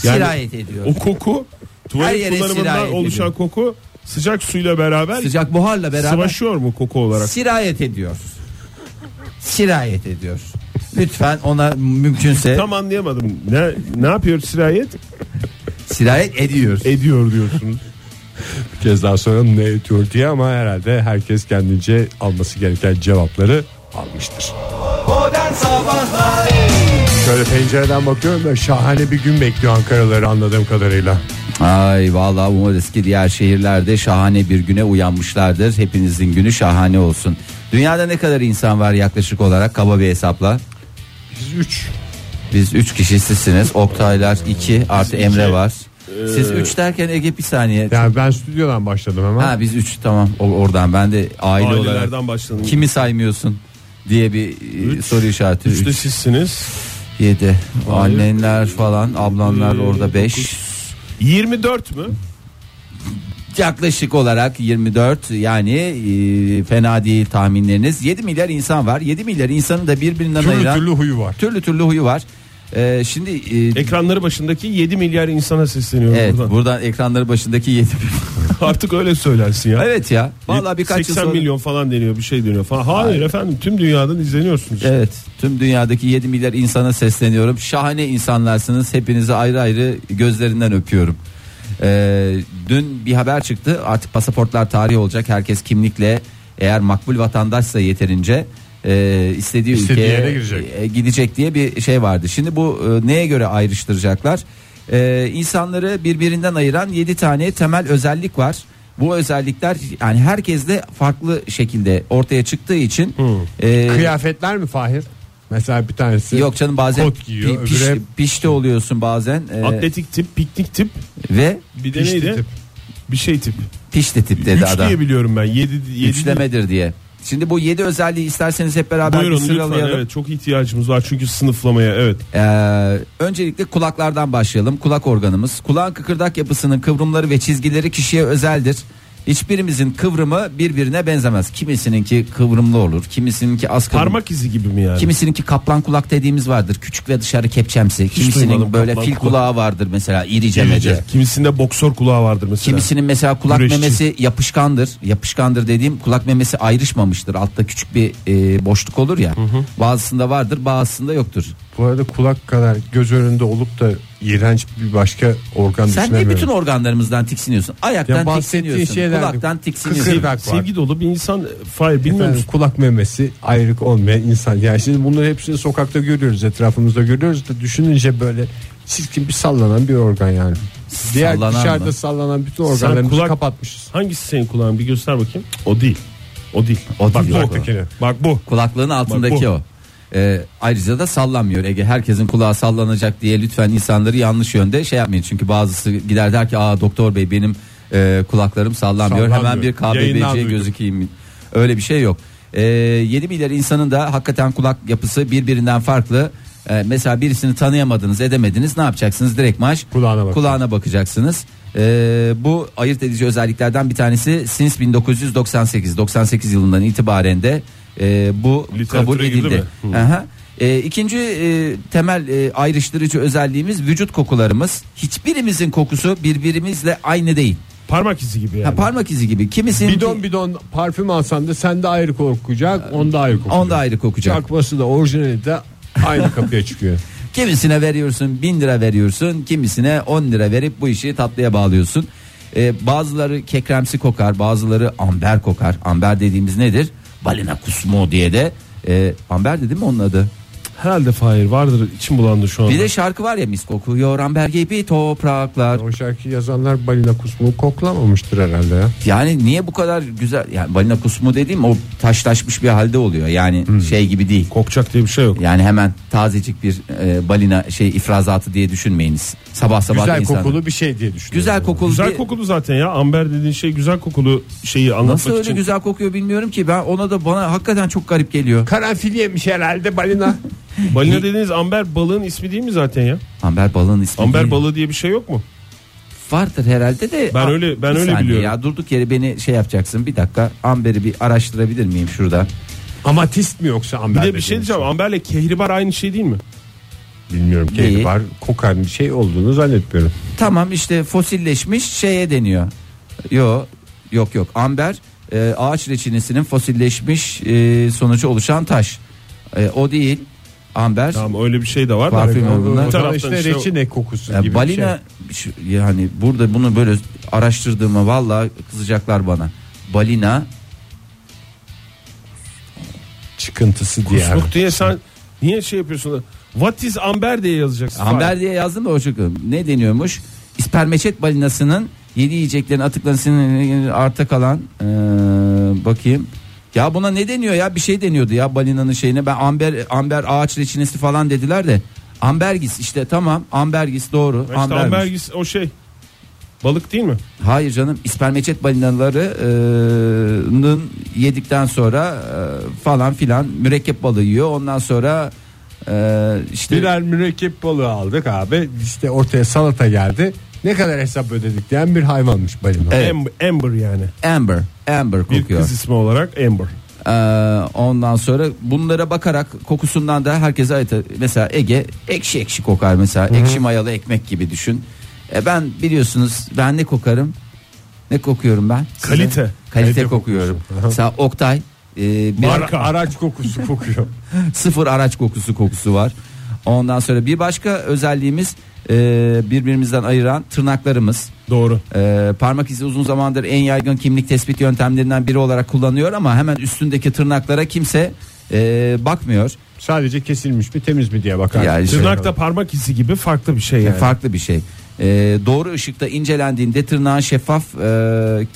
Yani Sirayet ediyor. O koku Her tuvalet yere sirayet kullanımından oluşan ediyor. koku sıcak suyla beraber, sıcak buharla beraber sıvaşıyor mu koku olarak? sirayet ediyor. Sirayet ediyor. Lütfen ona mümkünse Tam anlayamadım. Ne ne yapıyor sirayet? sirayet ediyor. Ediyor diyorsunuz. Bir kez daha sonra ne ediyor diye ama herhalde herkes kendince alması gereken cevapları almıştır. Modern Sabahlar Şöyle pencereden bakıyorum da şahane bir gün bekliyor Ankaraları anladığım kadarıyla. Ay vallahi umarız ki diğer şehirlerde şahane bir güne uyanmışlardır. Hepinizin günü şahane olsun. Dünyada ne kadar insan var yaklaşık olarak kaba bir hesapla? Biz 3 Biz 3 kişi sizsiniz. Oktaylar 2 artı Emre var. Ee, Siz 3 derken Ege bir saniye. Yani ben stüdyodan başladım hemen. Ha biz 3 tamam O- oradan ben de aile olarak Ailelerden başladım. kimi saymıyorsun diye bir e, Üç. soru işareti. Üçte 3 sizsiniz. 7 annenler falan ablanlar Ee, orada 5 dokuz. 24 mü? yaklaşık olarak 24 yani e, fena değil tahminleriniz. 7 milyar insan var. 7 milyar insanı da birbirinden türlü ayıran türlü huyu var. türlü türlü huyu var. E, şimdi e, Ekranları başındaki 7 milyar insana sesleniyorum evet buradan. buradan. ekranları başındaki 7 Artık öyle söylersin ya. Evet ya. Vallahi birkaç 80 yıl sonra- milyon falan deniyor bir şey deniyor falan. Hayır, efendim tüm dünyadan izleniyorsunuz. Evet tüm dünyadaki 7 milyar insana sesleniyorum. Şahane insanlarsınız. Hepinizi ayrı ayrı gözlerinden öpüyorum. Ee, dün bir haber çıktı. Artık pasaportlar tarih olacak. Herkes kimlikle eğer makbul vatandaşsa yeterince e, istediği, İstediği ülkeye yere girecek. e, gidecek diye bir şey vardı. Şimdi bu e, neye göre ayrıştıracaklar? E, insanları birbirinden ayıran 7 tane temel özellik var. Bu özellikler yani herkes de farklı şekilde ortaya çıktığı için e, Kıyafetler mi Fahir? Mesela bir tanesi. Yok canım bazen Kot giyiyor, pi- piş- öbürü hep- pişti oluyorsun bazen e, Atletik tip, piknik tip, ve bir de Pişti neydi? tip. Bir şey tip. pişti tip dedi 3 adam. diye biliyorum ben. 7 Üçlemedir diye. Şimdi bu 7 özelliği isterseniz hep beraber bir Buyurun lütfen. sıralayalım. Evet, çok ihtiyacımız var çünkü sınıflamaya. Evet. Ee, öncelikle kulaklardan başlayalım. Kulak organımız. Kulağın kıkırdak yapısının kıvrımları ve çizgileri kişiye özeldir. Hiçbirimizin kıvrımı birbirine benzemez. Kimisininki kıvrımlı olur, kimisininki az kıvrımlı. Parmak izi gibi mi yani? Kimisininki kaplan kulak dediğimiz vardır. Küçük ve dışarı kepçemsi. Kimisinin duymadım böyle kaplan fil kulak. kulağı vardır mesela irice mece. Gelecek. Kimisinde boksör kulağı vardır mesela. Kimisinin mesela kulak Güreşçi. memesi yapışkandır. Yapışkandır dediğim kulak memesi ayrışmamıştır. Altta küçük bir e, boşluk olur ya. Bazısında vardır, bazısında yoktur. Bu arada kulak kadar göz önünde olup da iğrenç bir başka organ Sen niye düşünemiyorum. bütün organlarımızdan tiksiniyorsun? Ya Ayaktan bahsettiğin tiksiniyorsun, şeyler- kulaktan tiksiniyorsun. Kıkır- Sevgi, sevgi dolu bir insan Fahir bilmiyor Efendim, musun? kulak memesi ayrık olmayan insan. Yani şimdi bunları hepsini sokakta görüyoruz etrafımızda görüyoruz da düşününce böyle çirkin bir sallanan bir organ yani. Diğer Sallanan dışarıda mı? sallanan bütün organlarımızı kulak- kapatmışız. Hangisi senin kulağın bir göster bakayım. O değil. O değil. O bak değil, bu bak o. ortakine. Bak bu. Kulaklığın altındaki bu. o. E, ayrıca da sallanmıyor Ege. Herkesin kulağı sallanacak diye lütfen insanları yanlış yönde şey yapmayın. Çünkü bazısı gider der ki aa doktor bey benim e, kulaklarım sallanmıyor. Sallanmıyor. Hemen bir Yayından KBBC'ye duydum. Şey gözükeyim. Öyle bir şey yok. E, 7 milyar insanın da hakikaten kulak yapısı birbirinden farklı. E, mesela birisini tanıyamadınız edemediniz ne yapacaksınız? Direkt maaş Kulağına bak. kulağına bakacaksınız. Ee, bu ayırt edici özelliklerden bir tanesi since 1998 98 yılından itibaren de e, bu Literatüre kabul girdi edildi. mi? Aha. E, ikinci temel e, ayrıştırıcı özelliğimiz vücut kokularımız. Hiçbirimizin kokusu birbirimizle aynı değil. Parmak izi gibi yani. Ha, parmak izi gibi. Kimisinin Bidon bidon parfüm alsan da sen de ayrı kokacak, onda ayrı kokacak. onda ayrı kokacak. Çakması da orijinali de aynı kapıya çıkıyor. Kimisine veriyorsun 1000 lira veriyorsun kimisine 10 lira verip bu işi tatlıya bağlıyorsun. Ee, bazıları kekremsi kokar bazıları amber kokar. Amber dediğimiz nedir? Balina kusmu diye de e, amber dedi mi onun adı? Herhalde Fahir vardır içim bulandı şu anda. Bir de şarkı var ya mis kokuyor amber gibi topraklar. o şarkıyı yazanlar balina kusmuğu koklamamıştır herhalde ya. Yani niye bu kadar güzel yani balina kusmu dediğim o taşlaşmış bir halde oluyor yani Hmm. şey gibi değil. Kokacak diye bir şey yok. Yani hemen tazecik bir e, balina şey ifrazatı diye düşünmeyiniz. Sabah sabah Güzel insan- kokulu bir şey diye düşünüyorum. Güzel kokulu Güzel diye- kokulu zaten ya. Amber dediğin şey güzel kokulu şeyi anlatmak Nasıl öyle için. güzel kokuyor bilmiyorum ki ben ona da bana hakikaten çok garip geliyor. Karanfil yemiş herhalde balina. Balina dediğiniz amber balığın ismi değil mi zaten ya? Amber balığın ismi. Amber değil. balığı diye bir şey yok mu? vardır herhalde de. Ben Aa, öyle- ben bir öyle saniye biliyorum. Ya durduk yere beni şey yapacaksın bir dakika. Amber'i bir araştırabilir miyim şurada? Amatist mi yoksa Bir amber? de bir şey diyeceğim. Amberle kehribar aynı şey değil mi? Bilmiyorum Neyi? ki var kokan bir şey olduğunu zannetmiyorum. Tamam işte fosilleşmiş şeye deniyor. Yo yok yok amber e, ağaç reçinesinin fosilleşmiş e, sonucu oluşan taş. E, o değil amber. Tamam öyle bir şey de var. da. Parfüm olduğunda. Bir O zaman taraftan işte işte- reçine kokusu Ya gibi bir e, balina şey. şu- yani burada bunu böyle araştırdığıma vallahi kızacaklar bana. Balina çıkıntısı diye. Kusmuk diye sen niye şey yapıyorsun? da, What is amber diye yazacaksın. Amber diye yazdım da o çok ne deniyormuş? İspermeçet balinasının yedi yiyeceklerin atıklarının arta kalan ee, bakayım. Ya buna ne deniyor ya? Bir şey deniyordu ya balinanın şeyine. Ben amber amber ağaç reçinesi falan dediler de. Ambergis işte tamam ambergis doğru. İşte ambergis. ambergis o şey. Balık değil mi? Hayır canım ispermeçet balinalarının yedikten sonra e, falan filan mürekkep balığı yiyor. Ondan sonra e, işte Birer mürekkep balığı aldık abi. İşte ortaya salata geldi. Ne kadar hesap ödedik diyen bir hayvanmış balina. Evet. Amber, Amber yani. amber amber Bir kokuyor. kız ismi olarak Amber. E, ondan sonra bunlara bakarak kokusundan da herkese ait. Mesela Ege ekşi ekşi kokar mesela. Ekşi mayalı ekmek gibi düşün. E, ben biliyorsunuz ben ne kokarım? Ne kokuyorum ben? Size? Kalite. Kalite, Kalite kokuyorum. Mesela Oktay e, bir- Marka. Araç kokusu kokuyor. sıfır araç kokusu kokusu var. Ondan sonra bir başka özelliğimiz e, birbirimizden ayıran tırnaklarımız. Doğru. E, parmak izi uzun zamandır en yaygın kimlik tespit yöntemlerinden biri olarak kullanıyor ama hemen üstündeki tırnaklara kimse e, bakmıyor. Sadece kesilmiş mi temiz mi diye bakar. Yani işte- Tırnak da parmak izi gibi farklı bir şey yani. Farklı bir şey. E, doğru ışıkta incelendiğinde tırnağın şeffaf e,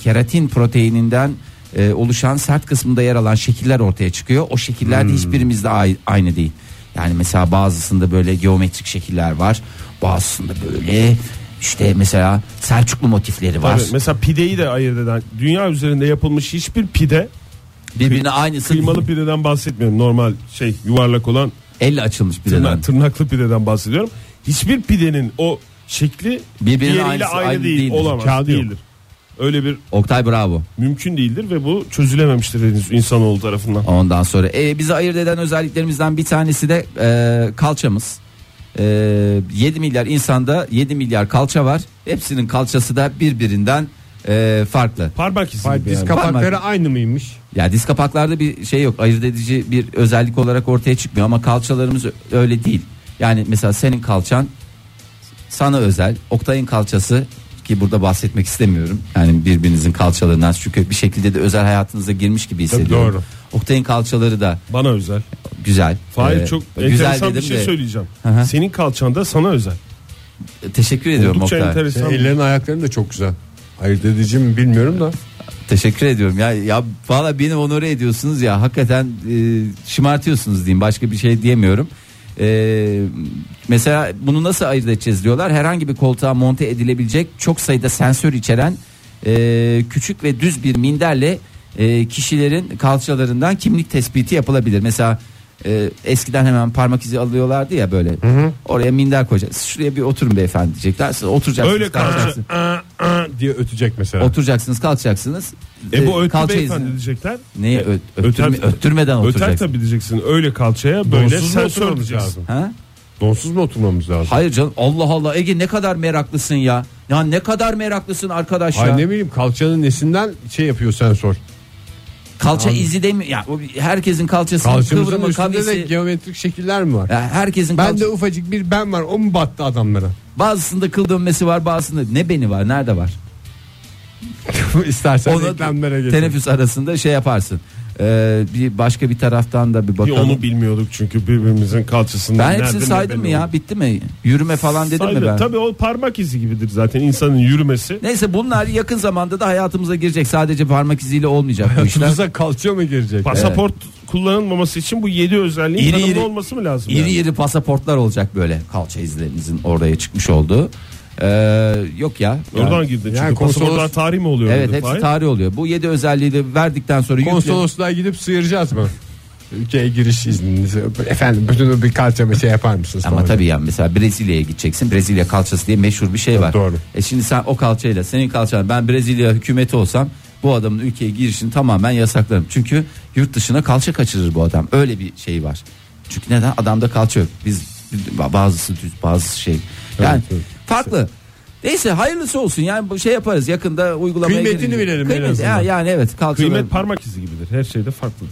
keratin proteininden e, oluşan sert kısmında yer alan şekiller ortaya çıkıyor. O şekiller Hmm. de hiçbirimizde ay- aynı değil. Yani mesela bazısında böyle geometrik şekiller var. Bazısında böyle işte mesela Selçuklu motifleri var. Tabii, mesela pideyi de ayırt eden dünya üzerinde yapılmış hiçbir pide Birbirine aynısı. kıymalı pideden bahsetmiyorum. Normal şey yuvarlak olan Elle açılmış bir dönem. tırnak, tırnaklı pideden bahsediyorum. Hiçbir pidenin o şekli Birbirinin diğeriyle aynısı- aynı, aynı değil. değildir. Olamaz. Kağıdı yok. değildir. Öyle bir Oktay bravo. mümkün değildir ve bu çözülememiştir henüz insanoğlu tarafından. Ondan sonra e, bizi ayırt eden özelliklerimizden bir tanesi de e, kalçamız. E, 7 milyar insanda 7 milyar kalça var. Hepsinin kalçası da birbirinden e, farklı. Parmak izi. Hayır, gibi diz yani. kapakları aynı mıymış? Ya diz kapaklarda bir şey yok. Ayırt edici bir özellik olarak ortaya çıkmıyor ama kalçalarımız ö- öyle değil. Yani mesela senin kalçan sana özel. Oktay'ın kalçası ki burada bahsetmek istemiyorum. Yani birbirinizin kalçalarından çünkü bir şekilde de özel hayatınıza girmiş gibi hissediyorum. doğru. Oktay'ın kalçaları da Bana özel. güzel. Fahir Ee, çok güzel enteresan bir dedim şey de, söyleyeceğim. Hı hı. Senin kalçanda sana özel. Teşekkür ediyorum Oldukça Oktay. enteresan. Ellerin ayakların da çok güzel. Ayırt edici mi bilmiyorum da. Teşekkür ediyorum. Ya ya valla beni onore ediyorsunuz ya. Hakikaten e, şımartıyorsunuz diyeyim. Başka bir şey diyemiyorum. E, mesela bunu nasıl ayırt edeceğiz diyorlar. Herhangi bir koltuğa monte edilebilecek çok sayıda sensör içeren e, küçük ve düz bir minderle e, kişilerin kalçalarından kimlik tespiti yapılabilir. Mesela e, eskiden hemen parmak izi alıyorlardı ya böyle. Oraya minder koyacak. Siz Şuraya bir oturun beyefendi diyecekler. Siz oturacaksınız. Öyle kalça. kalkacaksınız. Aa, aa diye ötecek mesela. Oturacaksınız kalkacaksınız. E bu Ee, ötü kalça beyefendi izni- diyecekler. Neyi ö- Öter- öttürme- öttürmeden Öter oturacaksın. tabii diyeceksin. Öyle kalçaya böyle Donsuz mu sensör oturmamız diyeceksin. lazım? Ha? Donsuz mu oturmamız lazım? Hayır canım Allah Allah Ege ne kadar meraklısın ya. Ya ne kadar meraklısın arkadaş ya. Ay ne bileyim kalçanın nesinden şey yapıyor sensör. Kalça izi demiyor. Ya o bir- herkesin kalçası Kalçamızın kıvrımı üstünde de kavisi. geometrik şekiller mi var? Ya herkesin ben kalça- de ufacık bir ben var o mu battı adamlara? bazısında kıl dönmesi var, bazısında ne beni var, nerede var? İstersen Onu reklamlara getir. teneffüs arasında şey yaparsın. Ee, bir başka bir taraftan da bir Bir bakalım. onu bilmiyorduk çünkü birbirimizin kalçasında. ben nerede, hepsini ne saydım mı belli ya? oldu. Bitti mi? Yürüme falan dedim mi Saydın. ben? Tabii o parmak izi gibidir zaten insanın yürümesi. Neyse bunlar yakın zamanda da hayatımıza girecek. Sadece parmak iziyle olmayacak bu işler. Tutuza kalça mı girecek? Pasaport kullanılmaması için bu 7 özelliğin İri tanımlı iri- olması mı lazım? yani? İri iri pasaportlar olacak böyle kalça izlerinizin oraya çıkmış olduğu. Ee, yok ya. Oradan Yani- girdin çünkü Yani konsolos- pasaportlar tarih mi oluyor? Evet orada, hepsi Fahir? tarih oluyor. Bu 7 özelliği de verdikten sonra yükle- Konsolosluğa gidip sıyıracağız mı? Ülkeye giriş izninizi efendim bütün bir kalçama şey yapar mısınız? Ama falan? tabii yani mesela Brezilya'ya gideceksin. Brezilya kalçası diye meşhur bir şey var. doğru. E şimdi sen o kalçayla senin kalçan ben Brezilya hükümeti olsam bu adamın ülkeye girişini tamamen yasaklarım. Çünkü yurt dışına kalça kaçırır bu adam. Öyle bir şey var. Çünkü neden? Adamda kalça yok. Biz bazısı düz bazısı şey. Yani Evet, evet. farklı. Neyse hayırlısı olsun. Yani bu şey yaparız yakında uygulamaya Kıymetini girecek. bilelim en Kıymet- azından. ya- yani evet kalça Kıymet parmak izi gibidir. Her şeyde farklıdır.